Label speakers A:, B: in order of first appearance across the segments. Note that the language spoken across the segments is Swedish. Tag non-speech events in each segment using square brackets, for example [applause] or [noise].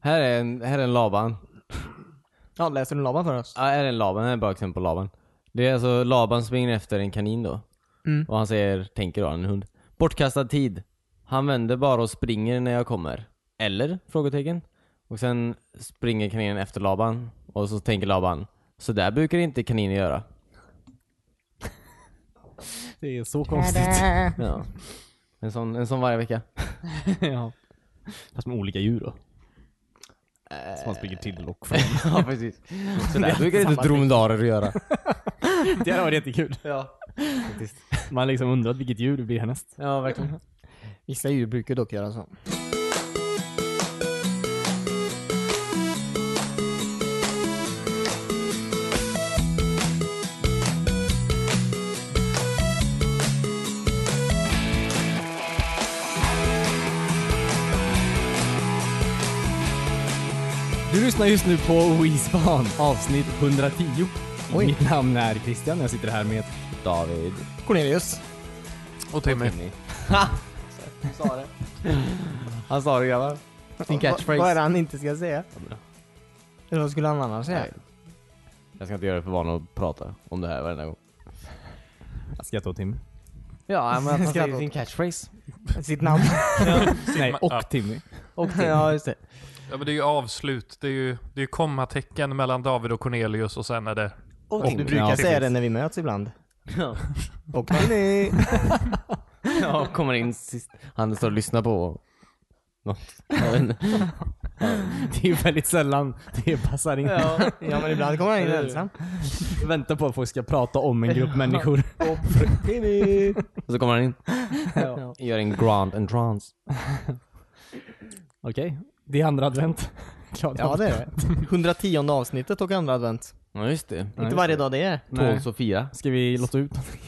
A: Här är en, här är en Laban.
B: Ja, läser du Laban för oss?
A: Ja, här är en Laban. Här är ett bra exempel på Laban. Det är alltså Laban springer efter en kanin då.
B: Mm.
A: Och han säger, tänker då, en hund. Bortkastad tid. Han vänder bara och springer när jag kommer. Eller? Frågetecken. Och sen springer kaninen efter Laban. Och så tänker Laban, så där brukar inte kaniner göra.
B: Det är så konstigt.
A: Ja. En sån, en sån varje vecka.
B: ja.
C: Fast med olika djur då. Som man springer till och från.
A: ja, precis. Så där brukar inte dromedarer göra.
C: [laughs] det hade varit jättekul.
A: ja.
C: Man har liksom undrat vilket djur det blir härnäst.
A: ja, verkligen.
B: Vissa djur brukar dock göra så.
C: Du lyssnar just nu på Oisban, avsnitt 110.
B: Oj.
C: Mitt namn är Christian, jag sitter här med...
A: David.
B: Cornelius.
D: Och Timmy.
A: Timmy.
B: Sa det.
A: Han sa det grabbar.
B: Din
A: catchphrase.
B: Vad är det han inte ska säga? Eller vad skulle han annars säga?
A: Nej. Jag ska inte göra det för van att prata om det här varenda gång.
C: Jag skrattar åt Timmy.
A: Ja, men att han
B: Skrattar
A: säger
B: åt.
A: sin [laughs] catchphrase.
B: Sitt [laughs] namn.
C: Nej, och
D: ja.
C: Timmy.
A: Och
B: ja, just det.
D: Ja, men det är ju avslut. Det är ju, det är ju kommatecken mellan David och Cornelius och sen är det...
B: Och
C: Och-
B: du brukar
C: ja,
B: säga
D: precis.
B: det när vi möts ibland.
A: Ja.
B: Och Penny.
A: Ja, och kommer in sist. Han står och lyssnar på något. Jag vet inte.
C: Det är ju väldigt sällan det passar in.
B: ja. ja, men ibland kommer han in
A: Eller hur?
B: ensam.
C: Vänta på att folk ska prata om en grupp människor.
B: Och Penny.
A: Och så kommer han in. Gör en grand entrance.
C: Okej, det är andra advent. Glad
B: Ja, det är det. 110 avsnittet och andra advent.
A: Ja, just det.
B: Inte varje dag det [laughs] är.
A: Tål Sofia.
C: Ska vi låta ut någonting?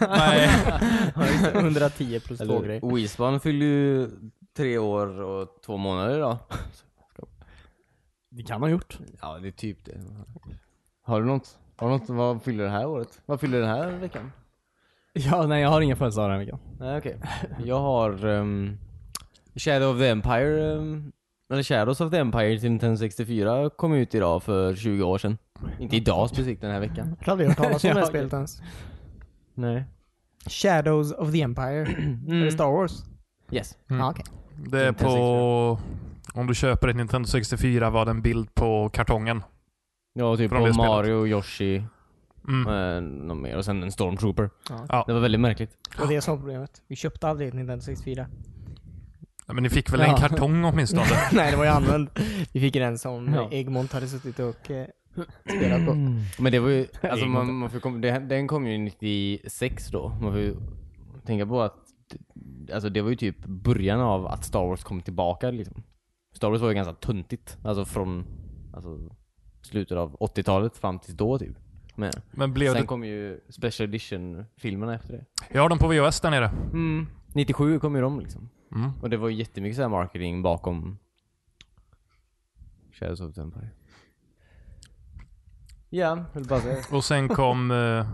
D: Nej,
B: 110 plus två grejer.
A: Oisban fyller ju tre år och två månader idag.
C: Det kan ha gjort.
A: Ja, det är typ det. Har du något? Har du något? Vad fyller det här året? Vad fyller den här veckan?
C: Ja, nej jag har inga födelsedagar den här veckan.
A: Nej, [laughs] okej. Jag har ehm, Shadow of the Empire, ehm, eller Shadows of the Empire till Nintendo 64 kom ut idag för 20 år sedan. Inte idag specifikt den här veckan.
B: Har vi hört [laughs] talas om det här
C: Ja,
B: spelet ens?
A: Nej.
B: Shadows of the Empire. Är det Star Wars?
A: Mm. Yes.
B: Ja, okej.
D: det är på... Om du köper ett Nintendo 64 var det en bild på kartongen.
A: Ja, typ
D: Från
A: på
D: det spelet.
A: Mario, Yoshi,
D: Mm.
A: eh, något mer och sen en Stormtrooper.
B: Ja.
D: Ja.
A: Det var väldigt märkligt.
B: Och det är som problemet. Vi köpte aldrig ett Nintendo 64.
D: Ja, Men ni fick väl
C: Ja.
D: en
A: [laughs]
D: kartong åtminstone?
B: [laughs] Nej, det var ju använd. Vi fick den som
A: Ja.
B: Egmont hade suttit och eh, spelat på.
A: Men det var ju, alltså man, man får kom, det, den kom ju 96 då. Man får ju tänka på att, alltså det var ju typ början av att Star Wars kom tillbaka liksom. Star Wars var ju ganska tuntigt, alltså från alltså, slutet av 80-talet fram till då typ. Men
D: Men blev
A: sen
D: det...
A: kom ju Special Edition-filmerna efter det.
D: Jag har dem på VHS där nere.
A: 97 kom ju de liksom.
D: Mm.
A: Och det var ju jättemycket så här marketing bakom Shadows of the Empire. Ja, vill bara säga.
D: Och sen kom... Eh,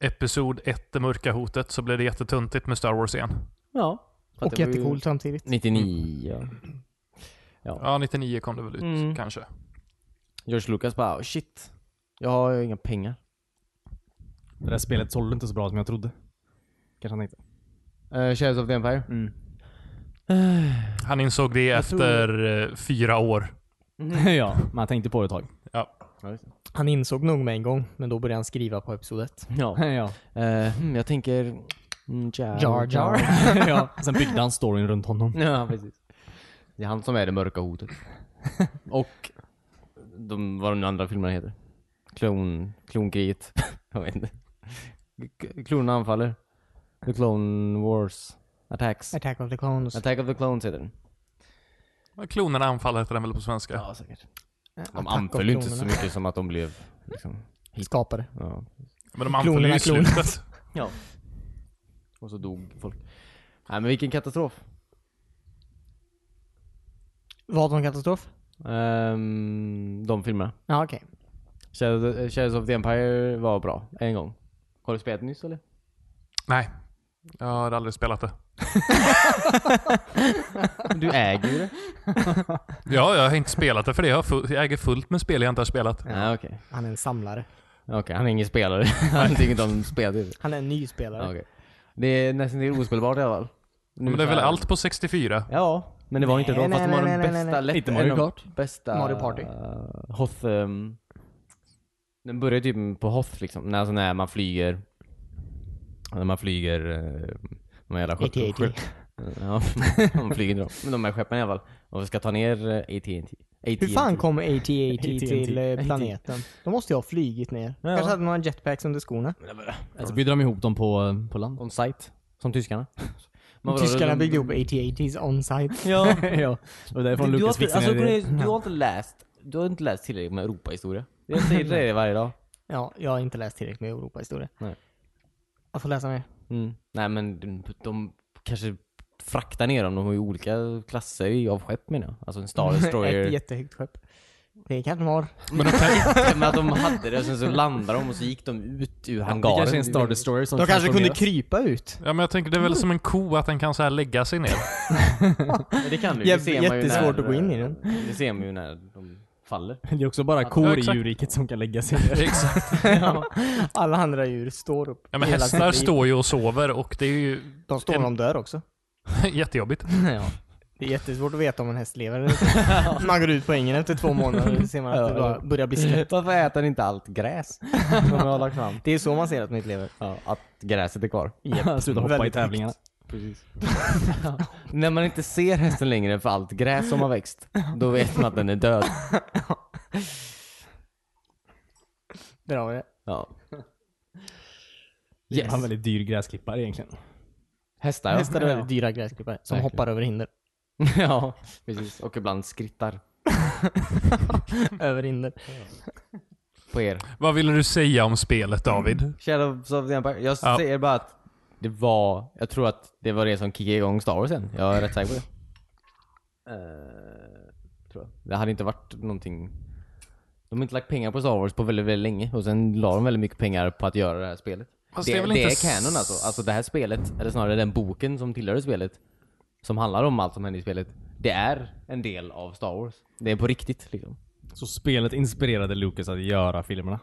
D: episod 1, Det mörka hotet, så blev det jättetuntigt med Star Wars igen.
A: Ja. För att
B: Och
A: det var ju Mm.
B: jättecool samtidigt.
A: 99 ja.
D: Ja, 99 kom det väl ut
A: Mm.
D: kanske.
A: George Lucas bara oh, shit. Jag har ju inga pengar.
C: Det där spelet sålde inte så bra som jag trodde. Kanske han tänkte.
A: Uh, Shadows of the Empire.
D: Han insåg det
A: tror-
D: efter eh, fyra år.
C: [laughs] ja, men han tänkte på det ett tag.
D: Ja.
A: Ja, just det.
B: Han insåg nog med en gång, men då började han skriva på episod 1.
A: ja.
C: ja.
A: Eh, hmm, jag tänker... Mm, Jar
B: Jar Jar.
C: [laughs] ja. Sen byggde han storyn runt honom.
A: [laughs] Ja, precis. Det är han som är det mörka [laughs] hotet. Och de, vad de andra filmerna heter. Klon... Klonkriget. [laughs] jag vet inte. K- Klonerna anfaller. The Clone Wars. Attacks.
B: Attack of the Clones.
A: Attack of the Clones heter den.
D: Klonerna anfaller heter den väl på svenska?
A: Ja, säkert. De
B: Eh, Attack of
A: anföll ju inte så
B: Clonerna.
A: mycket som att de blev liksom,
B: Skapade.
A: ja.
D: Men de anfaller ju
B: Klonerna,
D: i
B: klonerna.
D: slutet.
A: ja. Och så dog folk. Nej men vilken katastrof.
B: Vad för en katastrof?
A: Ehm, de filmerna.
B: Ja, okej.
A: Shadows, eh, Shadows of the Empire var bra, en gång. Har du spelat nyss eller?
D: Nej. Jag har aldrig spelat det.
A: Du äger ju det.
D: Ja, jag har inte spelat det för det. Jag, har full, jag äger fullt med spel jag inte har
A: [laughs]
D: spelat.
B: Mm.
A: Ja, okej.
B: Han är en samlare.
A: Okej, han är ingen spelare. [laughs] Han tycker inte om spel. typ.
B: Han är en ny spelare.
A: Ja, okej. Det är nästan till ospelbart i alla fall. Nu
D: Men det är
A: så
D: väl
A: här-
D: allt på 64?
A: Ja, men det var inte
B: Nej,
A: då. Fast de
B: nej,
A: har
B: nej,
A: den
B: nej, nej,
A: bästa
B: nej.
A: lätt...
C: Inte Mario
A: en av
C: Kart.
A: de Bästa...
B: Mario Party.
A: eh, Hoth... ehm, den börjar typ på Hoth liksom. När, alltså, när man flyger... När man flyger... Uh, de här jävla skepp-
B: 80-80.
A: skepp- Ja, [laughs] man flyger inte dem. Men de här skeppen i alla fall. Och vi ska ta ner eh, AT&T.
B: Hur fan kom AT-AT till eh,
C: AT&T.
B: planeten? De måste ju ha flygit ner.
C: Ja.
B: Kanske hade några jetpacks under skorna.
C: Så byggde de ihop dem på, eh, på land.
A: On site. Som tyskarna. Men vadå,
B: Tyskarna
A: de-
B: byggde ihop AT-ATs on-site.
C: [laughs] [laughs] ja. ja. Och därifrån
A: Du, du, har,
C: Lukas
A: inte-
C: fixade
A: alltså,
C: det.
A: grejen är, du har inte läst Du har inte läst tillräckligt med Europahistoria. Jag säger
C: [laughs]
A: det varje dag.
B: Ja, jag har inte läst tillräckligt med Europahistoria.
A: Nej.
B: Jag får läsa mer.
A: Mm. Nej men de, de kanske fraktar ner dem. De har ju olika klasser i- av skepp menar jag. Alltså en [laughs] Star
B: [laughs] Ett
A: Destroyer.
B: jättehögt skepp. Det kanske de har.
A: men, de [laughs] kan, men att de hade det och sen så landade de och så gick de ut ur
C: Det
A: hangaren.
C: kanske är en Star Destroyer som
B: De kanske kunde
C: transformeras.
B: krypa
A: [laughs]
B: ut.
D: Ja, men jag tänker det är
B: Mm.
D: väl som en ko att den kan så här lägga sig ner.
A: Men det kan du.
B: Jätte-
A: det ser man ju
B: jättesvårt
A: när,
B: att gå in i den.
A: Det ser man ju när de faller.
C: Det är också bara
D: Ja,
C: kor i
D: exakt.
C: djurriket som kan lägga sig ner.
D: [laughs] Exakt.
B: Alla andra djur står upp.
D: Ja, men
B: hela
D: hästar
B: sitt liv.
D: står ju och sover och det är ju [laughs]
B: De står när de
A: [laughs]
B: dör också.
D: jättejobbigt.
B: ja. Det är jättesvårt att veta om en
A: [laughs]
B: häst lever eller inte. Man går ut på ängen efter två månader och ser man att det bara börjar bli skelett.
A: Varför äter inte allt gräs? Som jag har lagt [laughs] fram.
B: Det är så man ser att de inte lever.
A: Ja, att gräset är kvar.
C: [laughs] Sluta hoppa i
B: Väldigt
C: tävlingarna.
A: När man inte ser hästen längre för allt gräs som har växt, då vet man att den är död.
B: Där har vi det.
A: Ja.
C: Det är en väldigt dyr gräsklippare egentligen.
A: Hästar ja.
B: Hästar är väldigt dyra gräsklippare som
A: Verkligen.
B: hoppar
A: [laughs]
B: över hinder.
A: ja, precis. Och ibland skrittar
B: över hinder.
A: på er.
D: Vad ville du säga om spelet
B: Mm.
D: David?
A: Shadows of the Empire. Jag
D: Ja.
A: säger bara att det var, jag tror att det var det som kickade igång Star Wars sen. Jag är rätt säker på det. Eh, tror jag. Det hade inte varit någonting. De har inte lagt pengar på Star Wars på väldigt, väldigt länge och sen la de väldigt mycket pengar på att göra det här spelet.
D: Fast
A: det,
D: det är
A: det,
D: väl
A: är
D: inte s-
A: canon alltså. Alltså det här spelet, eller snarare den boken som tillhör spelet, som handlar om allt som händer i spelet. Det är en del av Star Wars. Det är på riktigt liksom.
C: Så spelet inspirerade Lucas att göra filmerna.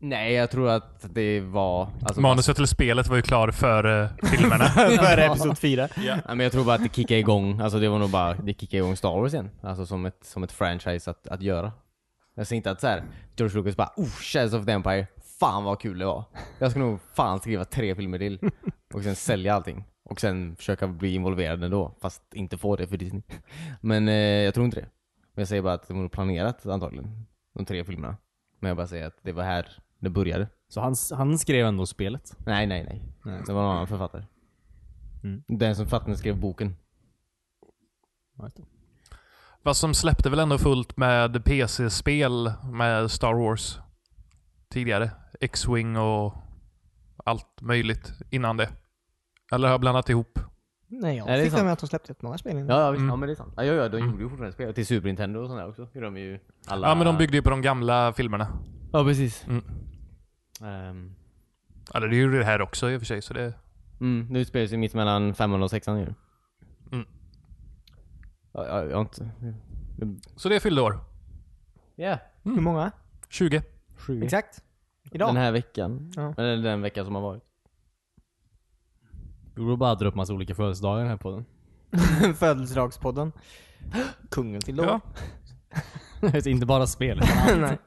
A: Nej, jag tror att det var... Alltså,
D: Manuset till spelet var ju klar före
B: [laughs]
D: filmerna.
B: Före episod 4.
A: Ja, men jag tror bara att det kickade igång, alltså det var nog bara, det kickade igång Star Wars igen. Alltså som ett, som ett franchise att, att göra. Jag ser inte att såhär, George Lucas bara oh, Shadows of the Empire, fan vad kul det var. Jag ska nog fan skriva tre filmer till. Och sen sälja allting. Och sen försöka bli involverad ändå, fast inte få det för Disney. Men eh, jag tror inte det. Men jag säger bara att det var nog planerat antagligen, de tre filmerna. Men jag bara säger att det var här det började.
C: Så han, han skrev ändå spelet.
A: Nej, nej, nej. Det var någon annan författare.
C: Mm.
A: Den som författaren skrev boken.
D: Fast som släppte väl ändå fullt med PC-spel med Star Wars tidigare. X-Wing och allt möjligt innan det. Eller har jag blandat ihop?
B: Nej, jag
A: Är det
B: fick för
A: sant?
B: mig att de släppte ett många spel innan.
A: Ja, ja, visst.
D: Mm.
A: ja men det är sant. Ja, ja, ja de gjorde ju fortfarande spel. Till Super Nintendo och sådär också. Gjorde de ju alla...
D: Ja men de byggde ju på de gamla filmerna.
A: Ja, precis.
D: Mm.
A: Ehm,
D: Eller det gjorde det här också i och för sig så det...
A: mm, nu spelar sig mitt mellan femman och sexan ju.
D: Mm.
A: Ja, ja, jag har inte...
D: Så det fyllde år.
A: Ja.
B: Hur många?
D: 20.
A: Sju.
B: Exakt. Idag.
A: Mm. Den här veckan.
B: Ja.
A: Eller den veckan som har varit.
C: Vi borde bara dra upp massa olika födelsedagar i den [laughs] här podden.
B: [laughs] Födelsedagspodden. [gasps] Kungen till lov. [laughs]
D: Ja.
C: Inte bara spel. utan allt.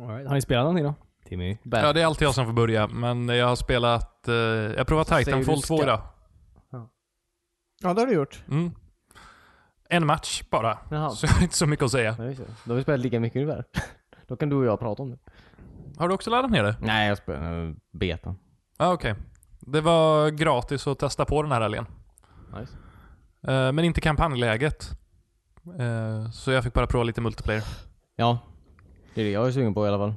C: All right. Har ni spelat någonting då? Timmy?
A: Bad.
D: ja, det är alltid jag som får börja. Men jag har spelat... Eh, jag provar
A: Säger du
D: Titanfall 2
A: ska-
D: idag.
B: Ja, det har du gjort.
D: Mm. En match bara.
A: Jaha.
D: Så jag har inte så mycket att säga.
A: Ja, just det. Då har vi spelat lika mycket ungefär. [laughs] Då kan du och jag prata om det.
D: Har du också laddat ner det?
A: Nej, jag spelar eh, betan.
D: Ja, ah, okej. Det var gratis att testa på den här helgen.
A: Nice.
D: Eh, men inte kampanjläget. Eh, så jag fick bara prova lite multiplayer.
A: Ja. Det är det jag är sugen på i alla fall.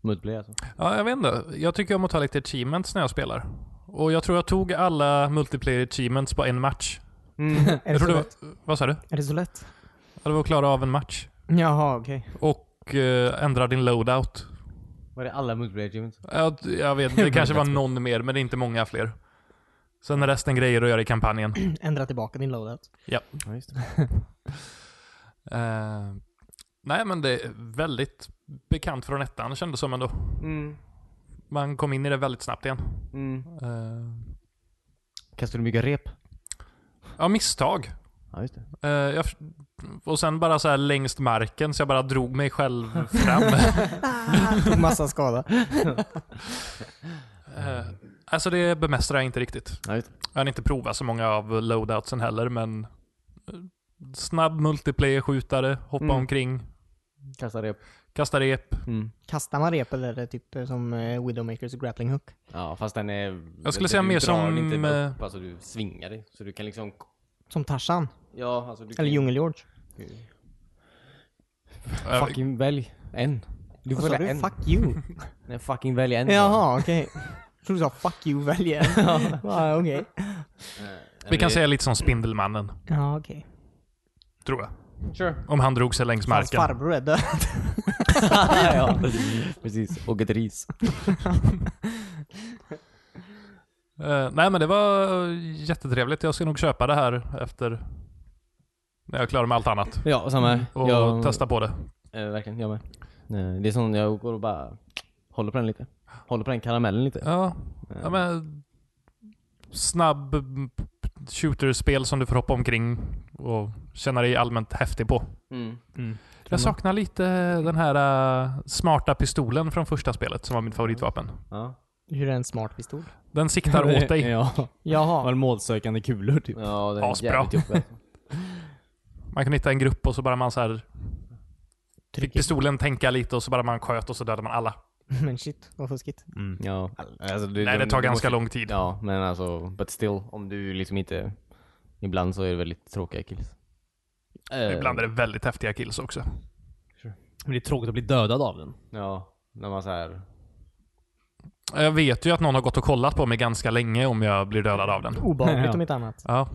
A: Multiplayer alltså.
D: Ja, jag vet inte. Jag tycker om att ta lite achievements när jag spelar. Och jag tror jag tog alla multiplayer achievements på en match.
A: [laughs]
B: Är det,
D: Jag
B: så
D: tror det var,
B: lätt?
D: vad sa du?
B: är det så lätt?
D: Ja, det var att klara av en match.
B: Jaha, okej.
D: Och eh, ändra din loadout.
A: Var det alla multiplayer achievements?
D: Jag, jag vet inte, det kanske var någon mer, men det är inte många fler. Sen är resten grejer att göra i kampanjen.
B: Ändra tillbaka din loadout.
A: Ja, just det.
D: Eh, nej, men det är väldigt bekant från ettan kändes som ändå.
B: Mm.
D: Man kom in i det väldigt snabbt igen.
B: Mm.
D: Eh,
A: Kastar du mycket rep?
D: ja, misstag.
A: Ja, just det.
D: Eh, jag, f- och sen bara så här längst marken, så jag bara drog mig själv fram. [laughs]
B: Tog [laughs] massa skada.
D: Eh, alltså det bemästrar jag inte riktigt.
A: Ja, just det.
D: Jag har inte provat så många av loadoutsen heller, men eh, snabb multiplayer-skjutare, hoppa
A: Mm.
D: omkring,
A: Kastar rep.
D: kasta rep.
A: Mm.
B: Kastar man rep eller är det typ eh, som eh, Widowmakers grappling hook?
A: Ja, fast den är...
D: Jag skulle säga
A: du
D: mer
A: drar den
D: som,
A: Inte
D: eh,
A: upp, alltså du svingar dig. Så du kan liksom...
B: Som Tarzan?
A: Ja, alltså du kan...
B: Eller Djungel-George?
D: Eh,
A: Fucking välj en. Alltså, Du
B: Vad
A: får
B: sa
A: välja
B: du?
A: en.
B: Fuck you?
A: Nej, fucking välj en.
B: Jaha, okej. Jag trodde du sa fuck you, välj en. Ja, okej.
D: vi kan säga lite som Spindelmannen,
B: Ja, okej.
D: tror jag.
A: Sure. [laughs]
D: Om han drog sig längs
B: Hans
D: marken.
B: farbror är död.
A: ja, precis. Och ett ris.
D: Eh, nej men det var eh, jättetrevligt. Jag ska nog köpa det här efter när jag klarar med allt annat.
A: Ja, och samma här.
D: Och
A: jag,
D: testa på det.
A: Eh, verkligen, jag med. Eh, det är sån, jag går och bara håller på den lite. Håller på den karamellen lite.
D: Ja,
A: Eh,
D: ja men snabb mm, shooter-spel som du får hoppa omkring och känna dig allmänt häftig på.
A: Mm.
D: Jag saknar lite den här eh, smarta pistolen från första spelet som var mitt favoritvapen.
A: Ja.
B: Hur är en smart pistol?
D: Den siktar åt dig.
C: [laughs] ja.
B: Jaha.
C: Var målsökande kulor typ.
A: ja, det är
D: Asbra.
A: jävligt jobbigt.
D: Man kunde hitta en grupp och så bara man så här, fick
B: Tryck.
D: pistolen tänka lite och så bara man sköt och så dödade man alla.
B: [laughs] Men shit, vad fuskigt.
A: [laughs] Ja. Alltså, du,
D: Nej, det
A: du-
D: tar
A: du
D: ganska
A: måste-
D: lång tid.
A: Ja, men alltså, but still. Om du liksom inte... Ibland så är det väldigt tråkiga kills. Eh,
D: Ibland är det väldigt häftiga kills också.
C: Men det är tråkigt att bli dödad av den.
A: Ja, när man så här...
D: Jag vet ju att någon har gått och kollat på mig ganska länge om jag blir dödad av den.
B: Obehagligt
C: Ja.
B: om inte annat.
D: Ja.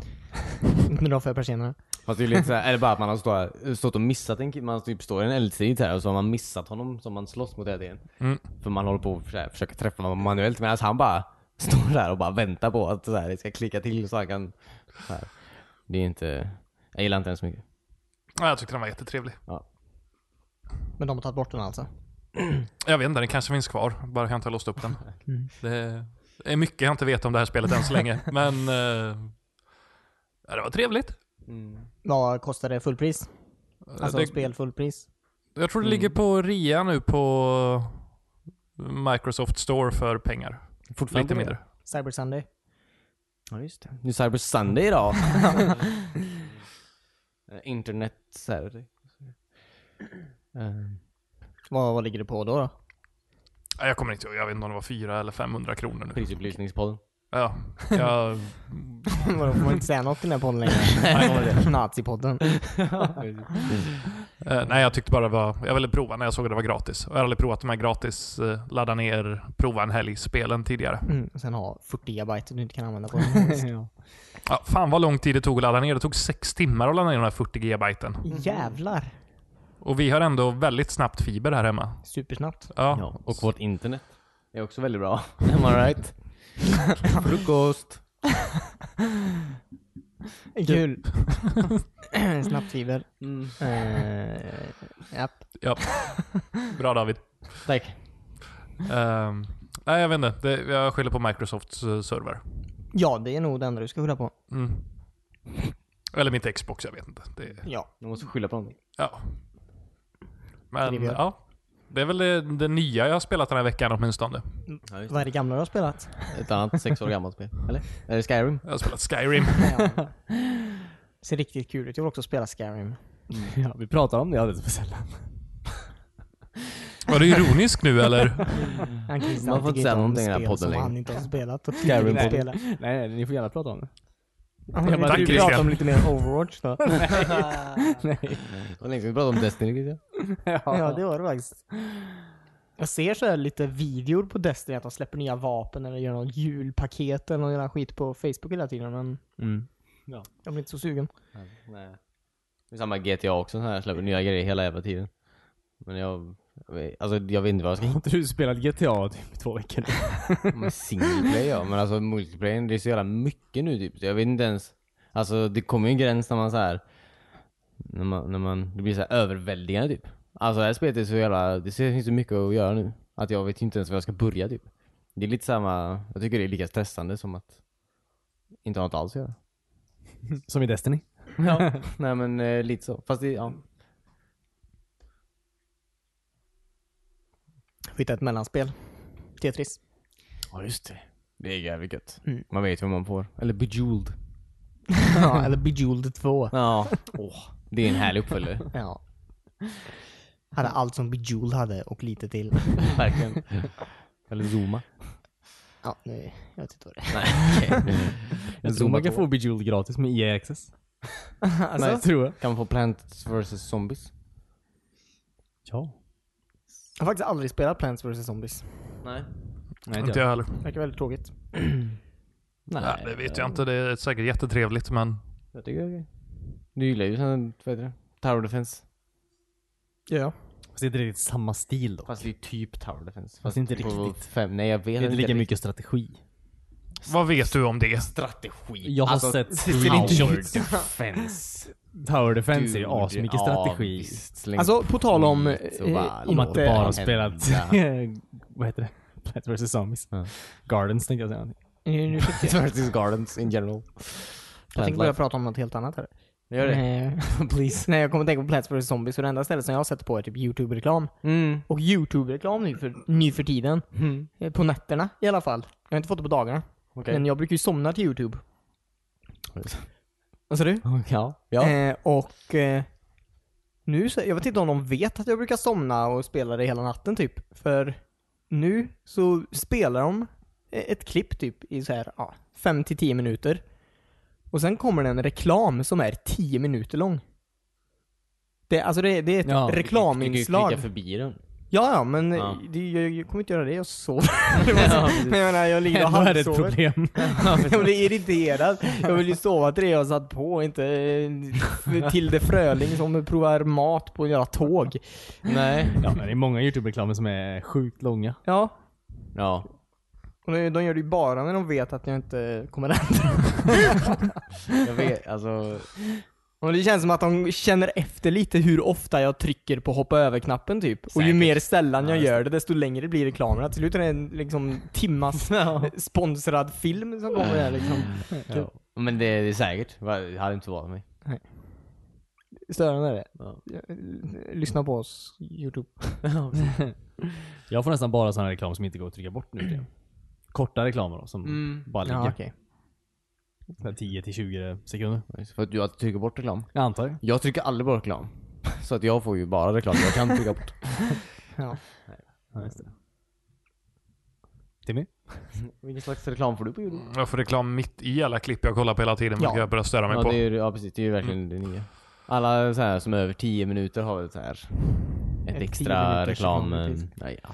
B: Nu drar för persiennerna.
A: Fast det är ju lite så här, eller bara att man har stått, stått och missat en kille, man typ står i en eldstrid så här och så har man missat honom som man slåss mot hela tiden.
D: Mm.
A: För man håller på att försöka, försöka träffa honom manuellt medan han bara står där och bara väntar på att så här, det ska klicka till så han kan... Så här. Det är inte... Jag gillar inte den så mycket.
D: Ja, Jag tyckte den var jättetrevlig.
B: Men de har tagit bort den alltså?
D: Jag vet inte, den kanske finns kvar. Bara jag inte har låst upp den. Det är mycket jag inte vet om det här spelet än så länge. Men eh, ja, det var trevligt.
A: Mm.
B: Vad kostar det fullpris? Alltså
D: det,
B: spel fullpris?
D: Jag tror det ligger på rea nu på Microsoft Store för pengar. Lite mindre.
B: Cyber Sunday?
A: Ja just det. Nu är Cyber Sunday [laughs] idag. Eh, Internet Saturday. Eh,
B: Vad, vad ligger det på då? då? [laughs]
D: Ja, Jag kommer inte ihåg, jag vet inte om det var 400 eller 500 kronor nu.
A: Prisupplysningspodden. [laughs]
D: Ja, jag,
B: Vadå, får man inte säga något i den här podden längre? [laughs] Nazipodden.
D: Eh, nej, jag tyckte bara det var... Jag ville prova när jag såg att det var gratis. Och jag har aldrig provat de här gratis, eh, ladda ner, prova en helg-spelen tidigare.
B: Mm. och Sen ha 40 gigabyte du inte kan använda
A: [laughs]
B: på den.
D: Ja, fan vad lång tid det tog att ladda ner. Det tog sex timmar att ladda ner de här 40 gigabyten.
B: Mm. Jävlar.
D: Och vi har ändå väldigt snabbt fiber här hemma.
B: Supersnabbt.
D: Ja.
A: Ja, och vårt internet är också väldigt bra. Am I [laughs] right? Frukost. Typ. [laughs]
B: Kul. [clears throat] Snabbt fiber.
A: Mm.
B: Eh, japp.
D: ja. Bra David.
A: Tack.
D: Ehm, nej, jag vet inte. Det, jag skyller på Microsofts eh, server.
B: Ja, det är nog det enda du ska skylla på.
D: Mm. Eller mitt Xbox, jag vet inte. Det,
B: Ja.
A: Jag måste skylla på någonting.
D: ja. Men
B: Trivia.
D: ja. Det är väl det, det nya jag har spelat den här veckan åtminstone.
B: Vad är det gamla du har spelat?
A: [laughs] Ett annat sex år gammalt spel. Eller? Är det Skyrim?
D: Jag har spelat Skyrim.
B: Ja. Ser riktigt kul ut. Jag vill också spela Skyrim.
C: ja, vi pratar om det alldeles för sällan.
D: Var du ironisk
B: [laughs]
D: nu eller?
B: Han kan
A: Man får inte säga någonting i den här podden
B: som
A: längre.
B: han inte har spelat och
A: Skyrim
B: tidigare
A: podden.
B: spelat.
C: Nej, nej, ni får gärna prata om det.
B: Jag
D: Tack,
B: bara, du
D: Christian.
B: pratar om lite mer
A: [laughs]
B: Overwatch då.
C: [laughs] nej.
A: Det var länge sedan vi pratade om Destiny. tyckte jag.
B: Ja, det var det faktiskt. Jag ser så här lite videor på Destiny att de släpper nya vapen eller gör något julpaket eller någon jävla skit på Facebook hela tiden men
C: Mm.
B: jag blir inte så sugen.
A: Nej. Det är samma GTA också. Så här, släpper nya grejer hela jävla tiden. Men jag Alltså jag vet inte vad jag ska
C: Har inte du spelat GTA typ i två veckor nu?
A: Men single player ja, men alltså multiplayer det är så jävla mycket nu typ. Så Jag vet inte ens. Alltså det kommer ju en gräns när man så här. När man, när man det blir så här överväldigande typ. Alltså det här spelet är så jävla, det finns så mycket att göra nu. Att jag vet inte ens var jag ska börja typ. Det är lite samma, jag tycker det är lika stressande som att inte ha något alls att göra.
C: [laughs] Som i Destiny?
A: Ja. [laughs] Nej men eh, lite så. Fast det, ja.
B: Hitta ett mellanspel. Tetris.
A: Ja just det. Det är jävligt gött.
B: Mm.
A: Man vet vad man får. Eller bejeweled.
B: [laughs] ja, eller Bejeweled 2.
A: Ja. [laughs] Åh. Det är en härlig uppföljare.
B: Ja. Hade allt som Bejeweled hade och lite till.
A: [laughs] Verkligen. Eller Zuma.
B: Ja, nu, jag vet inte vad det
A: Nej,
C: Jag tror man kan få Bejeweled gratis med EA [laughs] Access.
B: är.
A: Nej,
B: alltså,
A: jag tror jag. Kan man få Plants vs Zombies?
C: Ja.
B: jag har faktiskt aldrig spelat Plants vs Zombies.
A: Nej.
C: Nej,
D: Inte jag heller.
B: Verkar väldigt tråkigt.
A: Nej,
D: [clears throat] Nej, det vet jag inte. Det är säkert jättetrevligt men
A: Jag tycker det är okej. Du gillar ju sån, vad heter det? Tower Defense.
B: Ja.
C: Fast det är inte riktigt samma stil då.
A: Fast det är typ Tower Defense.
C: Fast inte
A: på
C: riktigt.
A: Fem. Nej jag vet
C: Det är inte lika mycket strategi.
D: vad vet du om det?
A: Strategi. Alltså,
C: Jag har sett
A: Tower
C: screenshots.
A: Defense.
C: Tower Defense är ju
A: Dude,
C: asmycket
A: ja,
C: strategi.
A: visst. Släng
B: Alltså, på tal om,
A: skit och
B: eh,
A: bara
B: om
C: Om
A: låt
C: att
B: inte-
A: det
C: bara
A: hända.
C: spelat... [laughs] vad heter det? Plants vs Zombies.
A: Ja.
C: Gardens tänkte jag säga.
B: Nu, nu fick jag,
A: Versus Gardens in general.
B: jag tänkte börja prata om något helt annat här.
A: Gör det.
B: Nej. [laughs] Please. Nej, jag kommer tänka på Plants vs Zombies och det enda stället som jag har sett på är typ YouTube-reklam.
A: Mm.
B: Och YouTube-reklam nu för, nu för tiden.
A: Mm.
B: Eh, På nätterna i alla fall. Jag har inte fått det på dagarna.
A: Okej.
B: Men jag brukar ju somna till YouTube. Vad sa du?
A: Ja. Ja.
B: Eh, och eh, nu, så, jag vet inte om de vet att jag brukar somna och spela det hela natten typ. För nu så spelar de ett klipp typ i så här, ja, 5-10 minuter. Och sen kommer det en reklam som är 10 minuter lång. Det, alltså det, det är ett
C: Ja, du- du- du-
B: reklaminslag.
A: Du kan ju klicka förbi den.
B: Ja, ja, men
A: Ja.
B: Det, jag, jag kommer inte göra det. Jag sover. men [laughs] jag menar, jag ligger och
C: [laughs] Ändå är det ett
B: halvsover.
C: problem.
B: Jag blir irriterad. Jag vill ju sova till det jag satt på, och inte eh, Tilde Fröling som provar mat på en jävla tåg.
A: Nej.
C: Ja, men det är [laughs] många YouTube-reklamer som är sjukt långa.
B: Ja.
A: Ja.
B: Och nu- de gör det ju bara när de vet att jag inte kommer ändra.
A: Jag vet, alltså.
B: Och det känns som att de känner efter lite hur ofta jag trycker på hoppa över-knappen typ. Och ju
A: Säkert.
B: mer sällan jag
A: Ja, just
B: gör det, desto längre blir reklamerna. Till slut är det en liksom
A: [laughs]
B: timmas sponsrad film som kommer här liksom.
A: Ja. Men det, det är säkert. Va, Det hade inte förvånat mig.
B: Störande är det.
A: Ja.
B: Lyssna på oss, Youtube.
C: Jag får nästan bara sådana reklam som inte går att trycka bort nu för tiden. Korta reklamer då, som bara ligger.
B: Mm. Ja, okej.
C: Så här 10 till 20 sekunder.
A: För att du alltid trycker bort reklam.
C: Jag antar det.
A: Jag trycker aldrig bort reklam. [laughs] Så att jag får ju bara reklam jag kan trycka bort.
B: Ja.
C: Ja, just det. Timmy?
A: Vilken slags reklam får du på Youtube?
D: Jag får reklam mitt i alla klipp jag kollar på hela tiden vilket
B: Ja.
D: jag börjar störa mig
A: Ja,
D: på.
A: det är, ju- ja precis, det är ju verkligen det nya. Alla så här som är över 10 minuter har väl så här ett,
B: Ett
A: extra
B: 10-minuters
A: reklam...
B: reklamnotis.
A: Nej, ja.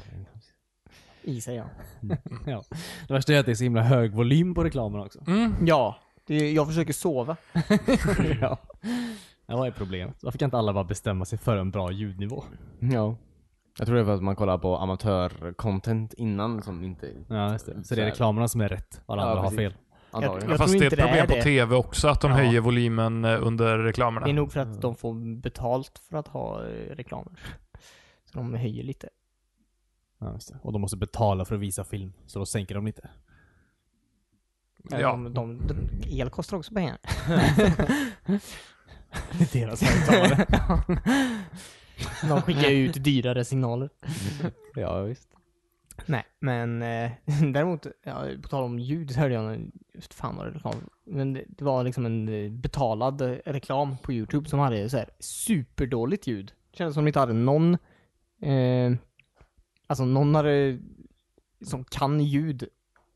B: I sig ja.
C: Ja. Det värsta är att det är så himla hög volym på reklamen också.
D: Mm.
B: Ja. Det, jag försöker sova.
C: [laughs] ja. ja, vad är problemet? Varför kan inte alla bara bestämma sig för en bra ljudnivå?
A: ja. Jag tror det är för att man kollar på amatörcontent innan som inte...
C: Ja, just det. Så det är
A: här.
C: reklamerna som är rätt, alla
A: Ja,
C: andra har
A: precis.
C: fel.
A: Antagligen.
B: Jag
D: Fast
B: tror
D: det är
B: inte
D: ett
B: det
D: problem
B: är
D: på
B: det.
D: TV också att de
B: Ja.
D: höjer volymen eh, under reklamerna.
B: Det är nog för
C: Mm.
B: att de får betalt för att ha eh, reklamer. Så de höjer lite.
C: Ja, just det. Och de måste betala för att visa film, så då sänker de lite.
B: Eller
D: Ja.
B: De, de, de, el kostar också pengar.
C: [laughs] Det är deras högtalare.
B: [laughs] De skickar ju ut dyrare signaler.
A: Ja, visst.
B: Nej, men eh, [laughs] däremot, ja, på tal om ljud så hörde jag en, just fan vad det reklam. Men det, det var liksom en eh, betalad eh, reklam på YouTube som hade så här superdåligt ljud. Det kändes som de inte hade någon, eh, alltså någon hade, som kan ljud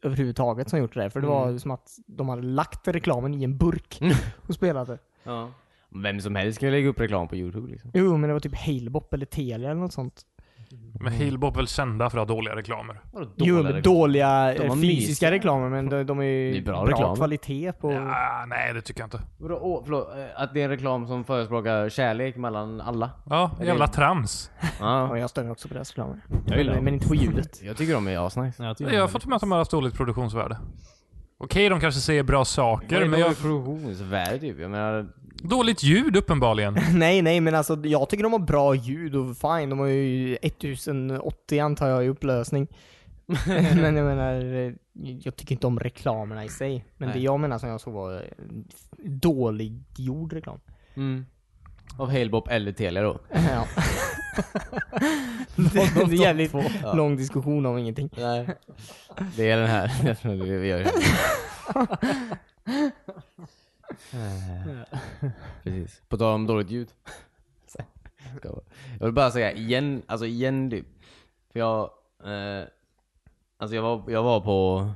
B: överhuvudtaget som gjort det där. För det var
A: Mm.
B: som att de hade lagt reklamen i en burk och spelade.
A: Ja. Vem som helst kan ju lägga upp reklam på Youtube liksom.
B: Jo, men det var typ Halebop eller Telia eller något sånt.
D: Men Halebop är väl kända för att ha dåliga reklamer?
C: Vadå dåliga
B: Jo, men
C: reklam?
B: dåliga
A: De var
B: eh, fysiska
A: mysiga.
B: reklamer men de, de är ju
A: Det är bra
B: bra,
A: reklam.
B: kvalitet på...
D: Ja, nej, det tycker jag inte.
A: Vadå, åh, förlåt, eh, att det är en reklam som förespråkar kärlek mellan alla?
D: Ja, jävla trams.
B: Ja,
A: Ja.
B: jag stör mig också på deras reklamer.
C: Jag gillar
B: men,
C: dem.
B: men inte på ljudet.
A: Jag tycker de är asnice.
C: Nej, jag tycker
D: Jag har
C: det.
D: fått med att de har haft dåligt produktionsvärde. Okej, de kanske säger bra saker, men
A: Men
D: jag...
A: jag... Produktionsvärde typ. Jag menar,
D: Dåligt ljud uppenbarligen.
B: [laughs] nej, nej, men alltså jag tycker de har bra ljud och fine. De har ju 1080 antar jag i [laughs] upplösning. men jag menar, eh, jag tycker inte om reklamerna i sig. Men
A: Nej.
B: det jag menar som jag såg var eh, dålig gjord reklam.
A: mm. Av Halebop eller Telia då.
B: [laughs] Ja. det är en jävligt
A: Ja.
B: lång diskussion om ingenting.
A: Nej. Det är den här. [laughs] Jag tror det är- vi gör det. Eh, Precis. På tal om dåligt ljud. Ska vara. Jag vill bara säga igen, alltså igen typ. För jag, eh, alltså jag var, jag var på,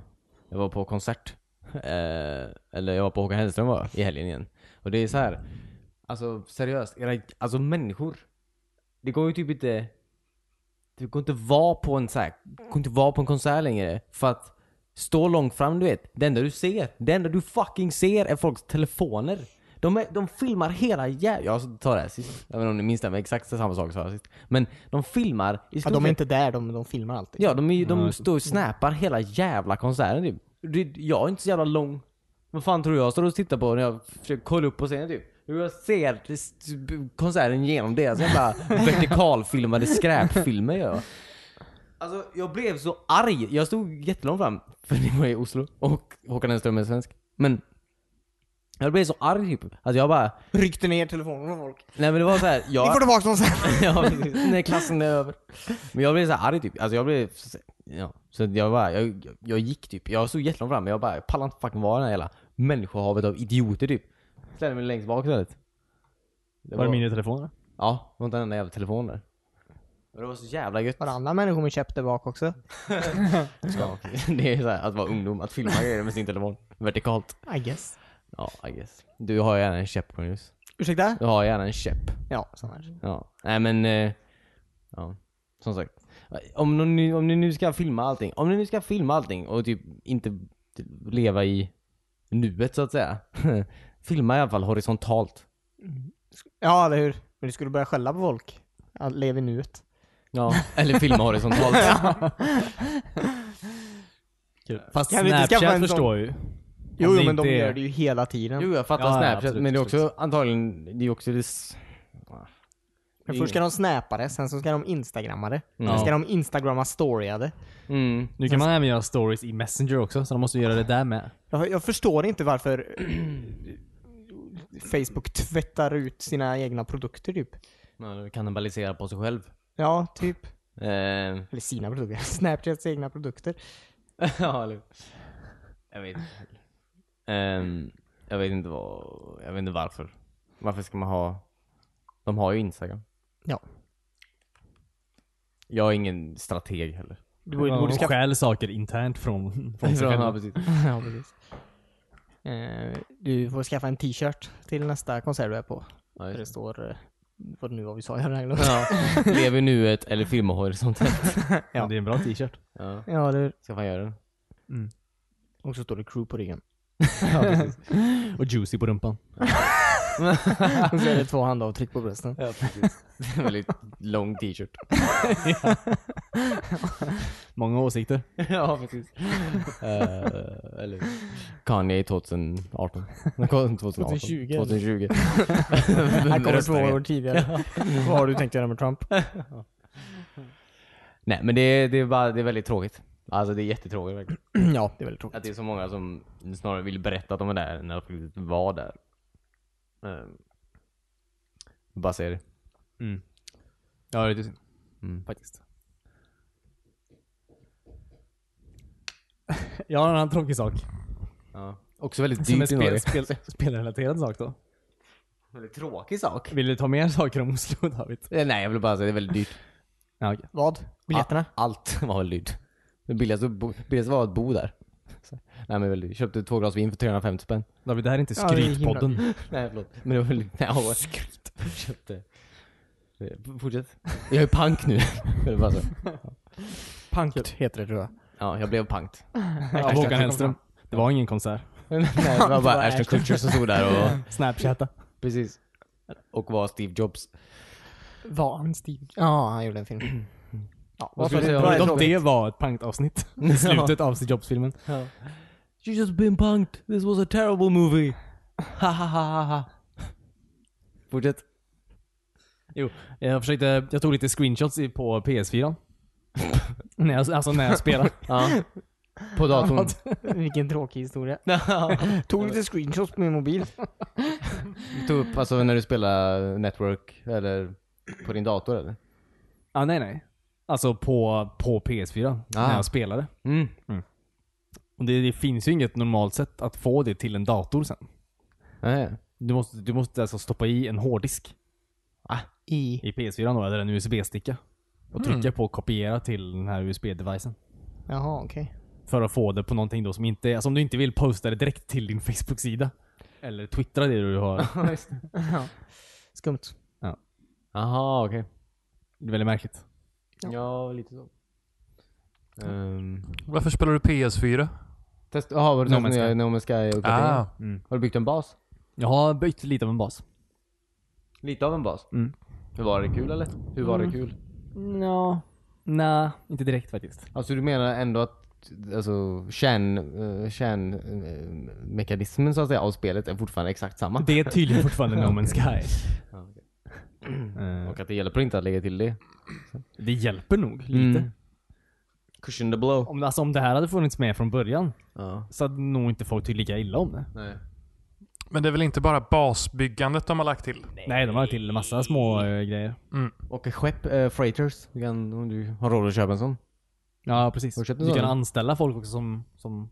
A: jag var på konsert. Eh, eller jag var på Håkan Hellström var jag, i helgen igen. Och det är så här. alltså seriöst, era, alltså människor. Det går ju typ inte du går inte vara på en, så här, går inte vara på en konsert längre för att stå långt fram du vet. Det enda du ser, det enda du fucking ser är folks telefoner. De, är, de filmar hela jävla... Jag tar det här sist. Jag vet inte om ni minns det, men exakt samma sak sa jag sist. Men de filmar i
B: Ja,
A: stort
B: de är
A: sett-
B: inte där, de, de filmar alltid.
A: Ja, de, är, ju- de står och snappar hela jävla konserten typ. Det- Jag är inte så jävla lång. Vad fan tror jag står och tittar på när jag försöker kolla upp på scenen typ? Hur jag ser det s- konserten genom deras [laughs] jävla vertikalfilmade skräpfilmer gör jag. Alltså jag blev så arg. Jag stod jättelångt fram, för det var i Oslo. Och Håkan Hellström är svensk. Men jag blev så arg typ. Alltså jag bara,
B: Ryckte ner telefonen från folk.
A: nej men det var så här, [laughs] jag...
B: Ni får tillbaka dem sen.
A: ja, precis. [laughs] när klassen är över. Men jag blev så här arg typ. Alltså jag blev... Ja. Så att jag bara, jag, jag gick typ. Jag stod jättelångt fram men jag bara, jag pallar inte fucking vara i det här hela människohavet av idioter typ. Ställde mig längst bak istället.
C: Var det minitelefoner?
A: Ja, det var inte en enda jävla telefon där. Men det var så jävla gött.
B: Var det andra människor med käpp där bak också?
A: Ja, okej. [laughs] det är så här, att vara ungdom, att filma grejer med sin telefon. Vertikalt.
B: I guess.
A: Ja, I guess. Du har gärna en käpp Cornelius.
B: Ursäkta?
A: Du har gärna en käpp.
B: Ja, sån här.
A: Ja, nej men... Eh, ja, som sagt. Om, någon, nu- om ni nu ska filma allting, om ni nu ska filma allting och typ inte leva i nuet så att säga. [laughs] filma i alla fall horisontalt.
B: Ja, eller hur? Men du skulle börja skälla på folk. Ja, Lev i nuet.
A: Ja, [laughs] eller filma
C: [laughs]
A: horisontalt.
C: Fast
B: Kan vi inte skaffa
C: Snapchat
B: en sån-
C: förstår ju.
B: Jo,
C: Om
B: jo
C: det
B: men de
C: inte är-
B: gör det ju hela tiden.
A: Jo, jag fattar
C: Ja, ja,
A: Snapchat,
C: absolut,
A: men det är också antagligen, det är också det... s-
B: men först ska de snappa det, sen så ska de instagramma det.
A: Ja.
B: Sen ska de instagramma storya det.
A: Mm.
C: Nu kan man även göra stories i Messenger också, så de måste göra det där med.
B: Jag, jag förstår inte varför [clears throat] Facebook tvättar ut sina egna produkter typ.
A: Man kannibaliserar på sig själv.
B: Ja, typ.
A: Eh,
B: Eller sina produkter. [laughs] Snapchats egna produkter. [laughs]
A: [laughs] ja, eller Jag vet inte. Ehm, jag vet inte vad, jag vet inte varför. Varför ska man ha, de har ju Instagram.
B: Ja.
A: Jag är ingen strateg heller.
B: Du borde, du
C: De
B: borde skaffa...
C: stjäl saker internt från,
A: [laughs]
C: från sig
A: Ja,
C: själva.
A: precis.
B: ja, precis. Eh, du får skaffa en t-shirt till nästa konsert du är på.
A: Ja,
B: Där det
A: just det.
B: står... eh, Vad det nu var vi sa, jag har glömt.
A: ja. [laughs] Lev i nuet eller filma horisontellt.
B: Ja.
C: Det är en bra t-shirt.
A: Ja.
B: [laughs] Ja, det...
A: Ska fan göra det.
C: [laughs]
B: Och så står det crew på ryggen.
C: Och juicy på rumpan.
B: Och [laughs] så är det två handavtryck på brösten.
A: Ja, precis. [laughs] Väldigt lång t-shirt.
C: Många åsikter.
A: [laughs] ja, precis. Eh, eller Kanye 2018. 2018.
B: 2020. [laughs]
A: [laughs] 2020.
B: Han kommer två
A: Röstar igen.
B: år tidigare. [laughs] Vad har du tänkt göra med Trump? [clears throat]
A: Nej men det, det, är bara, det är väldigt tråkigt. Alltså det är jättetråkigt verkligen.
B: ja, det är väldigt tråkigt.
A: Att det är så många som snarare vill berätta att de är där än att faktiskt vara där. Um, bara säger det.
C: Mm. Ja, det är lite synd.
A: Mm.
C: Faktiskt. Jag har en annan tråkig sak.
A: Ja. Också väldigt
C: Som är
A: dyrt i Norge.
C: spel, spel, spelrelaterad sak då.
A: [laughs] Väldigt tråkig sak.
C: Vill du ta mer saker om Oslo David?
A: Eh, Nej jag vill bara säga det är väldigt dyrt.
C: Ja, okej.
B: Vad? Biljetterna?
A: Allt [laughs] var väldigt dyrt. Det billigaste, bo, billigaste var att bo där. Så. Nej men väldigt dyrt. Köpte två glas vin för 350 spänn.
C: David, det här är inte
B: Ja, det
A: [laughs]
B: är
C: skrytpodden.
A: Nej förlåt. Men det var väldigt... Nej, jag var- Köpte Eh, Fortsätt. Jag är pank nu. [laughs] Det är bara så.
B: Punkt heter det tror jag.
A: Ja, jag blev pankt.
C: Av Håkan Hellström. Det var ingen konsert.
A: [laughs] Nej, det var bara Ashton Kutcher som stod där och...
C: Snapchatta.
A: Precis. Och var Steve Jobs.
B: Var han Steve? [clears throat] Ja, han gjorde en film. Ja,
A: Vad
B: varför-
A: skulle du säga om
B: bra
A: det?
B: ifrån.
C: Om det var ett punkavsnitt. I slutet av Steve Jobs-filmen.
B: Ja.
A: You just been punked. This was a terrible movie. Ha ha ha ha ha. Fortsätt.
C: Jag försökte, jag tog lite screenshots i- på PS4. [laughs] när jag, alltså när jag spelade.
A: Ja. På datorn.
B: Vilken tråkig historia. [laughs]
A: [laughs]
B: Tog lite screenshots på min mobil.
A: Tog upp, alltså när du spelar Network eller på din dator eller?
C: ah, nej nej. Alltså på, på PS4.
A: Ah.
C: När jag spelade.
A: Mm.
C: Och det, det finns ju inget normalt sätt att få det till en dator sen.
A: Nej.
C: Du måste, du måste alltså stoppa i en hårddisk
B: I...
C: i PS4 då, eller en USB-sticka. Och trycka på kopiera till den här USB-devicen.
B: Jaha, okej.
C: För att få det på någonting då som inte, alltså om du inte vill posta det direkt till din Facebook-sida. Eller twittra det du har.
B: Skumt.
A: Jaha, okej.
C: Det är väldigt märkligt.
A: Ja.
B: Ja.
A: lite så. Um,
D: Varför spelar du PS4?
A: test, jaha, var det
C: No
A: no
C: Man's
A: nya
C: Sky.
A: No Man's Sky och
D: Ah,
A: Har du byggt en bas?
C: Jag har bytt lite av en bas.
A: Lite av en bas?
C: Mm.
A: Hur var det kul eller? Hur var det kul?
C: Ja. Nej, inte direkt faktiskt.
A: Alltså du menar ändå att alltså, kärn, eh, kärnmekanismen så att säga av spelet är fortfarande exakt samma?
C: Det är tydligen fortfarande No Man's [laughs] Sky. Eh,
A: Och att det hjälper inte att lägga till det?
C: Det hjälper nog lite.
A: Mm. Cushion the blow.
C: Om, alltså, om det här hade funnits med från början
A: Ja.
C: så hade nog inte folk tyckt lika illa om det.
A: Nej.
D: Men det är väl inte bara basbyggandet de har lagt till?
C: Nej, de har till en massa små eh, grejer.
A: Och ett skepp, eh, freighters. Du kan, om du har råd att köpa en sån.
C: Ja, precis.
A: Har du köpt en
C: Du
A: sån?
C: kan anställa folk också som, som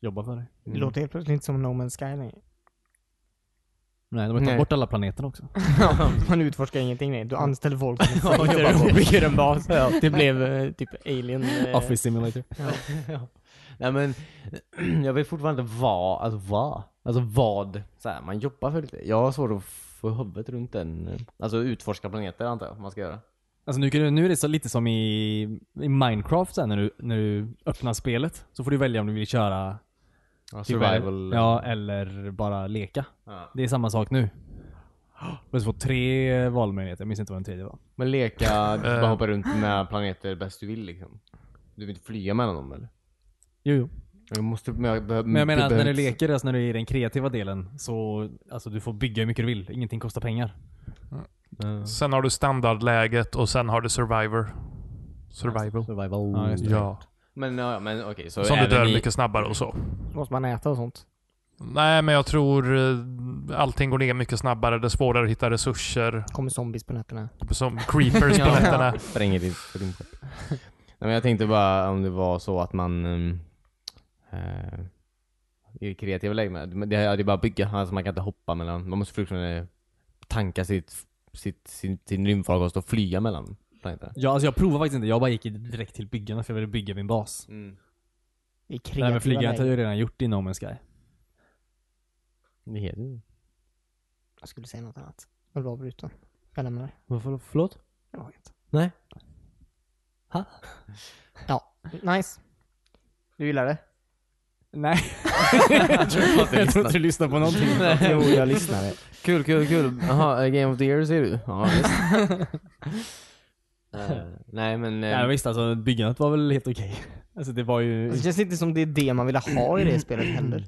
C: jobbar för dig.
B: Det låter helt plötsligt inte som No Man's Sky längre. [laughs]
C: Nej, de har
A: Nej.
C: tagit bort alla planeter [laughs] också.
B: Man utforskar ingenting längre. Du anställer folk [laughs] och bygger en bas. Det blev eh, typ [laughs] alien... eh,
C: Office Simulator.
A: Nej men, [clears throat] jag vet fortfarande inte vad, alltså vad, alltså vad så här, man jobbar för lite. Jag har svårt att få huvudet runt den, eh, alltså utforska planeter antar jag man ska göra.
C: Alltså nu, kan du, nu är det så lite som i, i Minecraft så här, när, du, när du öppnar spelet. Så får du välja om du vill köra typ-
A: survival.
C: ja, eller bara leka.
A: Ja.
C: Det är samma sak nu. Du får tre valmöjligheter, jag minns inte vad den tredje var.
A: Men leka, du får bara
D: Eh.
A: hoppa runt med planeter bäst du vill liksom. Du vill inte flyga mellan dem eller?
C: Jo, jo.
A: Jag måste, men jag, behö-
C: Men jag menar att när du
A: behövs-
C: leker, alltså när du är i den kreativa delen, så alltså, du får bygga hur mycket du vill. Ingenting kostar pengar. Mm.
D: Sen har du standardläget och sen har du survivor. Survival.
A: Survival.
C: Ja, just det.
D: Ja.
A: Men, ja, men okej, så
D: Som du
A: även
D: dör
A: i-
D: mycket snabbare och så.
B: Måste man äta och sånt?
D: Nej, men jag tror eh, allting går ner mycket snabbare. Det är svårare att hitta resurser.
B: Kommer zombies på nätterna?
D: Som creepers på
A: Ja. [laughs]
D: nätterna.
A: spränger ditt rymdskepp. Nej, men jag tänkte bara om det var så att man ehm, eh, i det kreativa läget, men det, det är bara att bygga, alltså man kan inte hoppa mellan, man måste fortfarande tanka sitt, sitt, sin, sin rymdfarkost och flyga mellan planeterna.
C: Ja, alltså jag provade faktiskt inte. Jag bara gick direkt till byggarna för jag ville bygga min bas.
B: I
C: Det här
B: kreativa
C: med flygandet har jag
B: lägen.
C: ju redan gjort i No Man's Sky.
A: Det heter ju
B: Jag skulle säga något annat. Jag blev avbruten. Jag lämnar det.
C: Varför? Förlåt?
B: Jag har inget.
C: Nej.
A: [laughs]
B: Ja, nice. Du gillar det?
C: Nej.
A: jag tror att
C: jag tror inte du lyssnar på någonting.
B: Jo, jag lyssnade.
A: Kul, kul, kul. Jaha, eh, Game of the Year ser du? Ja, visst. [laughs] Eh, nej men... eh,
C: Ja, visst, alltså byggandet var väl helt okej. Alltså det var ju...
B: Det känns inte som det är det man ville ha i
A: [clears throat]
B: det spelet heller.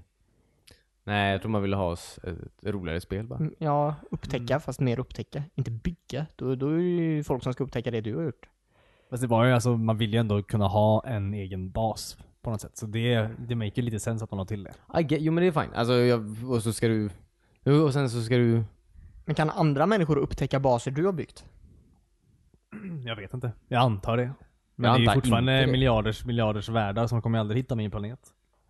A: nej, jag tror man ville ha s- ett roligare spel bara.
B: Mm, Ja, upptäcka fast mer upptäcka. Inte bygga. Då, då är det ju folk som ska upptäcka det du har gjort.
C: Fast det var ju alltså, man vill ju ändå kunna ha en egen bas på något sätt. Så det, det make ju lite sens att man la till det.
A: I get, jo men det är fint. Alltså, jag, och så ska du... jo, Och sen så ska du...
B: Men kan andra människor upptäcka baser du har byggt?
C: Mm, Jag vet inte. Jag antar det. Men
A: Jag
C: det är ju
A: antar inte
C: fortfarande
A: det.
C: miljarders, miljarders världar som kommer aldrig hitta min planet.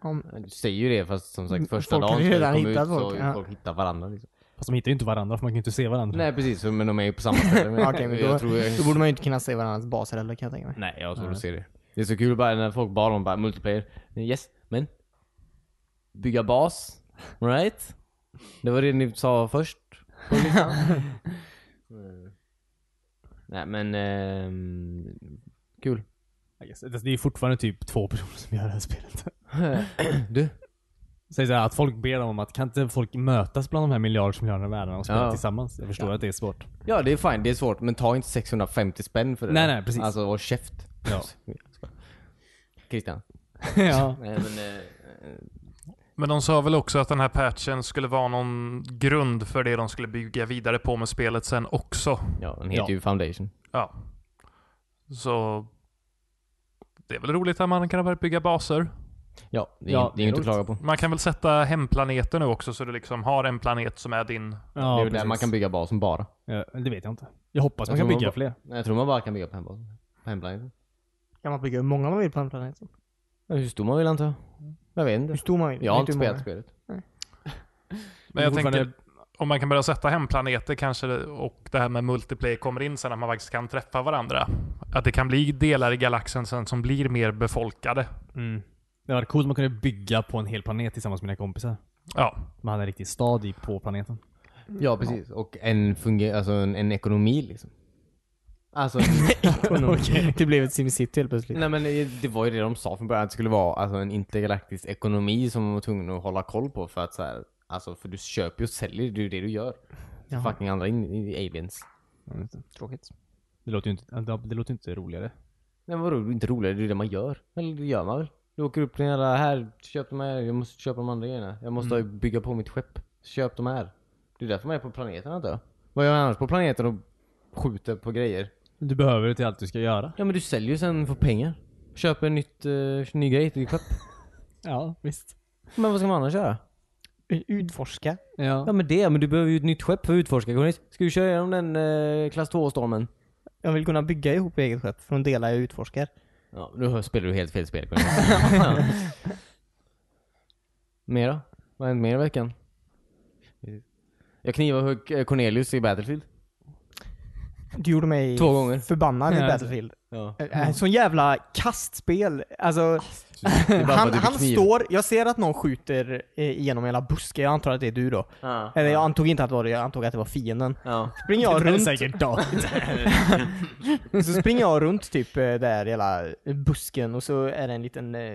B: Om,
A: [laughs] Du säger ju det fast som sagt första
B: Mm, Folk har
A: dagen
B: ju
A: när du
B: redan
A: kommer ut
B: hittat
A: så
B: folk, ja.
A: folk hittar varandra liksom.
C: Fast de hittar ju inte varandra för man kan ju inte se varandra.
A: Nej precis, men de är ju på samma
B: [laughs]
A: ställe. Men
B: Okej, men
A: jag
B: då,
A: tror
B: då
A: jag,
B: borde man ju inte kunna se varandras baser heller kan jag tänka mig.
A: Nej, jag tror du ser det. Det är så kul bara när folk bara om bara multiplayer. Yes, men? Bygga bas?
B: [laughs]
A: Right? Det var det ni sa först. Nej men... ehm, kul.
C: I guess. Det är ju fortfarande typ två personer som gör det här spelet. [laughs]
A: du?
C: Säg så här, att folk ber om att kan inte folk mötas bland de här miljarder miljarderna världarna och spela
A: Ja.
C: tillsammans? Jag förstår att det
A: [laughs]
C: är svårt.
A: Ja det är fint, det är svårt. Men ta inte 650 spänn för det.
C: Nej,
A: där.
C: nej, precis.
A: Alltså håll käft.
C: Ja.
A: [laughs] Christian.
C: ja.
A: Nej men... Eh,
D: Men de sa väl också att den här patchen skulle vara någon grund för det de skulle bygga vidare på med spelet sen också.
A: ja, den heter
C: Ja.
A: ju Foundation.
D: Ja. Så det är väl roligt att man kan börja bygga baser.
A: Ja, det är,
C: Ja,
A: ja, det är
C: det är
A: inte att klaga på.
D: Man kan väl sätta hemplaneter nu också så du liksom har en planet som är din.
A: Det
C: ja
A: är väl där man kan bygga basen bara.
C: ja, Eh, det vet jag inte. Jag hoppas
A: Jag
C: man kan
A: tror man
C: bygga
A: bara-
C: fler.
A: Jag tror man bara kan bygga på hembasen. På hemplaneten.
B: Kan man bygga hur många man vill på en planet?
A: Ja, hur stor man vill antar jag. Jag vet
B: Hur
A: inte.
B: stor man vill?
A: Jag har
B: vet
A: inte
B: hur många.
A: spelat spelet.
D: Men jag
C: Fortfarande-
D: tänker, om man kan börja sätta hemplaneter kanske det- och det här med multiplayer kommer in sen, att man faktiskt kan träffa varandra. Att det kan bli delar i galaxen sen som blir mer befolkade.
C: Mm. Det var coolt om man kunde bygga på en hel planet tillsammans med mina kompisar.
D: Ja,
C: Man hade en riktig stad i på planeten.
A: Ja, precis. Och en, funger- alltså en, en ekonomi liksom.
C: [laughs]
A: Alltså,
B: [laughs]
A: [laughs]
B: Okej. Det blev ett SimCity helt plötsligt.
A: nej men eh, det var ju det de sa från början, att det skulle vara alltså, en intergalaktisk ekonomi som man var tvungen att hålla koll på för att så här, alltså för du köper ju och säljer, det är ju det du gör.
B: Jaha.
A: Fucking andra in, i- i aliens.
B: Tråkigt.
C: Det låter ju inte, det, det låter ju inte roligare.
A: Nej men vadå, det är inte roligare, det är ju det man gör. Eller det gör man väl? Du åker upp till den jävla, här, köp de här, jag måste köpa de andra grejerna. Jag måste bygga på mitt skepp. Köp de här. Det är därför man är på planeten antar jag. Vad gör man annars på planeten och skjuter på grejer?
C: Du behöver det till allt du ska göra.
A: Ja men du säljer ju sen för pengar. Köper en nytt, uh, ny grej till ditt skepp.
C: Ja, visst.
A: Men vad ska man annars göra?
B: Utforska.
A: Ja
C: Ja.
A: men det, men du behöver ju ett nytt skepp för att utforska Cornelis. Ska du köra igenom den eh, klass 2-stormen?
B: Jag vill kunna bygga ihop eget skepp från delar jag utforskar.
A: Ja, nu spelar du helt fel spel Cornelis. [laughs] mer då? Vad har hänt mer i veckan? Jag knivade Hugg- Cornelius i Battlefield.
B: Du gjorde mig
A: Två gånger.
B: förbannad i
C: Ja.
B: Battlefild.
A: Ja.
B: Mm. Sån jävla kastspel. Alltså,
A: [laughs]
B: han, han står, jag ser att någon skjuter eh, igenom hela busken, jag antar att det är du då.
A: Ja.
B: Eller jag antog inte att det var det, jag antog att det var fienden.
A: Ja.
B: Springer jag
C: Det är
B: runt,
C: säkert dag.
B: [laughs] så springer jag runt typ eh, där hela busken och så är det en liten eh,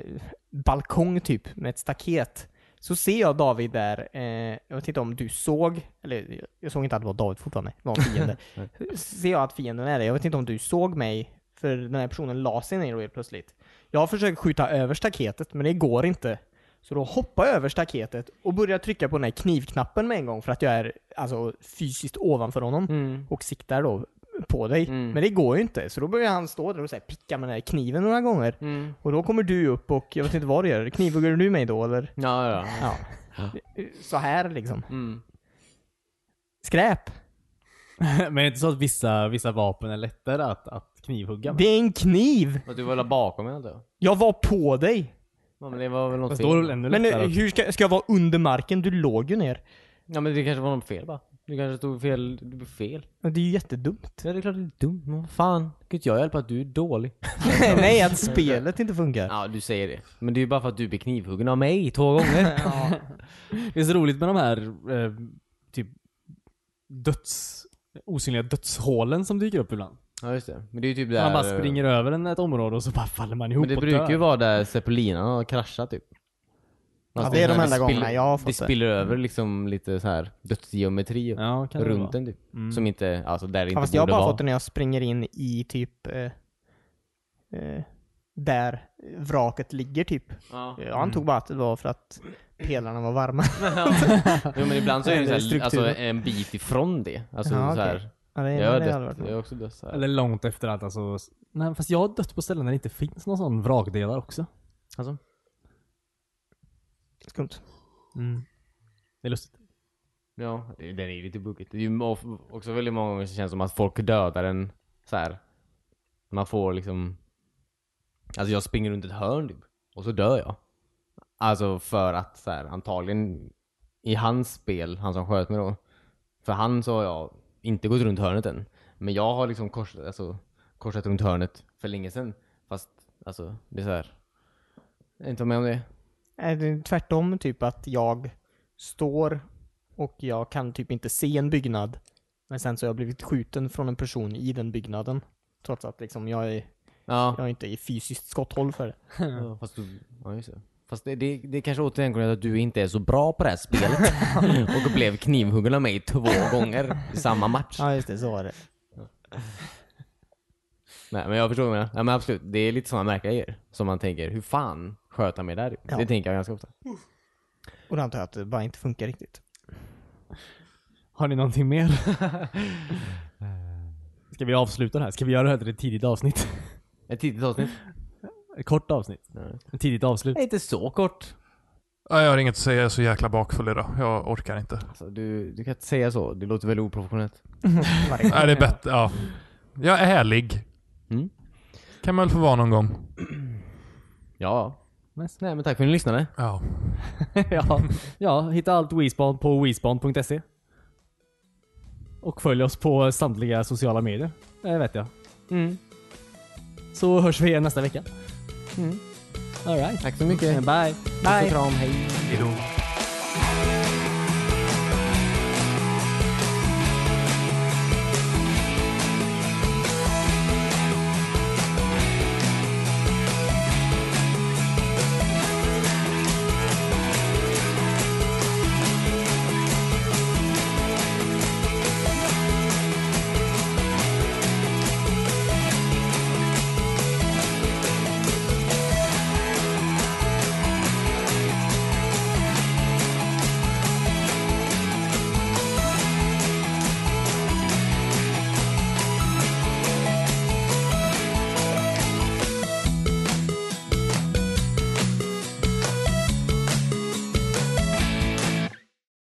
B: balkong typ med ett staket. Så ser jag David där, eh, jag vet inte om du såg, eller jag såg inte att det var David fortfarande, det var en fiende. Så ser jag att fienden är det, jag vet inte om du såg mig, för den här personen la sig ner helt plötsligt. Jag försöker skjuta över staketet, men det går inte. Så då hoppar jag över staketet och börjar trycka på den här knivknappen med en gång för att jag är alltså fysiskt ovanför honom
A: Mm.
B: och siktar då på dig. Men det går ju inte, så då börjar han stå där och så här picka med den här kniven några gånger.
A: Mm.
B: Och då kommer du upp och jag vet inte vad du gör. Knivhugger du mig då eller?
A: Ja, ja.
B: Ja. Så här liksom.
A: Mm.
B: Skräp!
C: [laughs] Men det är inte så att vissa, vissa vapen är lättare att, att knivhugga med?
B: Det är en kniv!
A: Fast du var väl bakom mig antar jag?
B: Jag var på dig!
A: Ja, men det var väl något
C: Fast då är det
A: fel?
C: väl ännu
B: Men
C: lättare?
B: eh, hur ska, ska jag vara under marken? Du låg ju ner.
A: Ja men det kanske var något fel bara. Du kanske stod fel, du blev fel.
B: Men Det är
A: [laughs]
B: ju jättedumt.
A: Ja, det är klart du är dum. Men vad fan? Kan inte jag hjälpa att du är dålig?
B: Nej, att spelet inte funkar.
A: Ja, du säger det. Men det är ju bara för att du blir knivhuggen av mig två
B: [laughs]
A: gånger.
C: Det är så roligt med de här eh, typ döds... Osynliga dödshålen som dyker upp ibland.
A: ja, just det. Men det är ju typ där...
C: Man bara springer över en, ett område och så bara faller man ihop
A: Men det
C: och
A: brukar
C: dör.
A: ju vara där zeppelinerna har kraschat typ.
B: Ja,
A: Fast
B: det är de
A: här-
B: enda
A: spiller-
B: gångerna jag har fått
A: Det
B: det. Mm.
A: spiller över liksom lite så här dödsgeometri
C: Ja, kan det Mm.
A: runt
C: vara.
A: den typ. Som inte, alltså där det inte
B: Ja, fast
A: borde
B: jag har bara
A: vara.
B: fått det när jag springer in i typ eh, eh, där vraket ligger typ. [laughs]
A: Ja.
B: Jag antog bara att det var för att pelarna var varma. [laughs]
A: Jo men ibland så är det
B: Eller
A: så här, alltså,
B: strukturen.
A: en bit ifrån det. Alltså
B: Ja,
A: så här,
B: okej. ja, det,
A: jag har
B: det hade
A: dött,
B: varit
A: jag
B: något.
A: har också dött så här.
C: Eller långt efter allt alltså. Nej, fast jag har dött på ställen där det inte finns någon sån vrakdelar också.
A: Alltså,
B: skumt.
C: Mm. Det är lustigt.
A: Ja, Eh, den är ju lite buggigt. Det är ju mo- också väldigt många gånger så känns det som att folk dödar en så här. Man får liksom... Alltså jag springer runt ett hörn typ, och så dör jag. Alltså för att så här, antagligen i hans spel, han som sköt mig då. För han så har jag inte gått runt hörnet än. Men jag har liksom kors, alltså, korsat runt hörnet för länge sedan. Fast alltså, det är så här. Jag är inte med om det.
B: Nej, det är tvärtom typ att jag står och jag kan typ inte se en byggnad. Men sen så har jag blivit skjuten från en person i den byggnaden. Trots att liksom jag, är,
A: Ja.
B: jag är inte i fysiskt skotthåll för det.
A: ja. Fast, du, ja, just det. Fast det, det, det kanske återigen kommer att att du inte är så bra på det här spelet. och blev knivhuggen av mig två gånger i samma match.
B: Ja just det, så var det.
A: Nej men jag förstår vad du menar. Ja, men absolut, det är lite sådana märkliga grejer. Som man tänker, hur fan sköt han mig där?
B: Ja.
A: Det tänker jag ganska ofta.
B: Och då antar jag att det bara inte funkar riktigt.
C: Har ni någonting mer? [laughs] Ska vi avsluta det här? Ska vi göra det här till ett tidigt avsnitt? [laughs]
A: Ett tidigt avsnitt.
C: Ett kort avsnitt?
A: Nej.
C: Ett tidigt avslut?
A: Det är inte så kort.
D: Ja, jag har inget att säga, jag är så jäkla bakfull idag. Jag orkar inte.
A: Alltså, du, du kan inte säga så, det låter väldigt oprofessionellt.
B: Varje gång.
D: Nej, det är bättre. Ja. Jag är ärlig.
A: Mm.
D: Kan man väl få vara någon gång.
A: Ja. Nej men tack för att ni lyssnade.
D: Ja.
C: [laughs] ja, ja, hitta allt WeSpawn på WeSpawn.se. Och följ oss på samtliga sociala medier. Det vet jag.
A: Mm.
C: Så hörs vi igen nästa vecka. All right.
A: Tack så mycket.
C: Mm. Bye.
B: Puss och kram, hej.
D: Hejdå.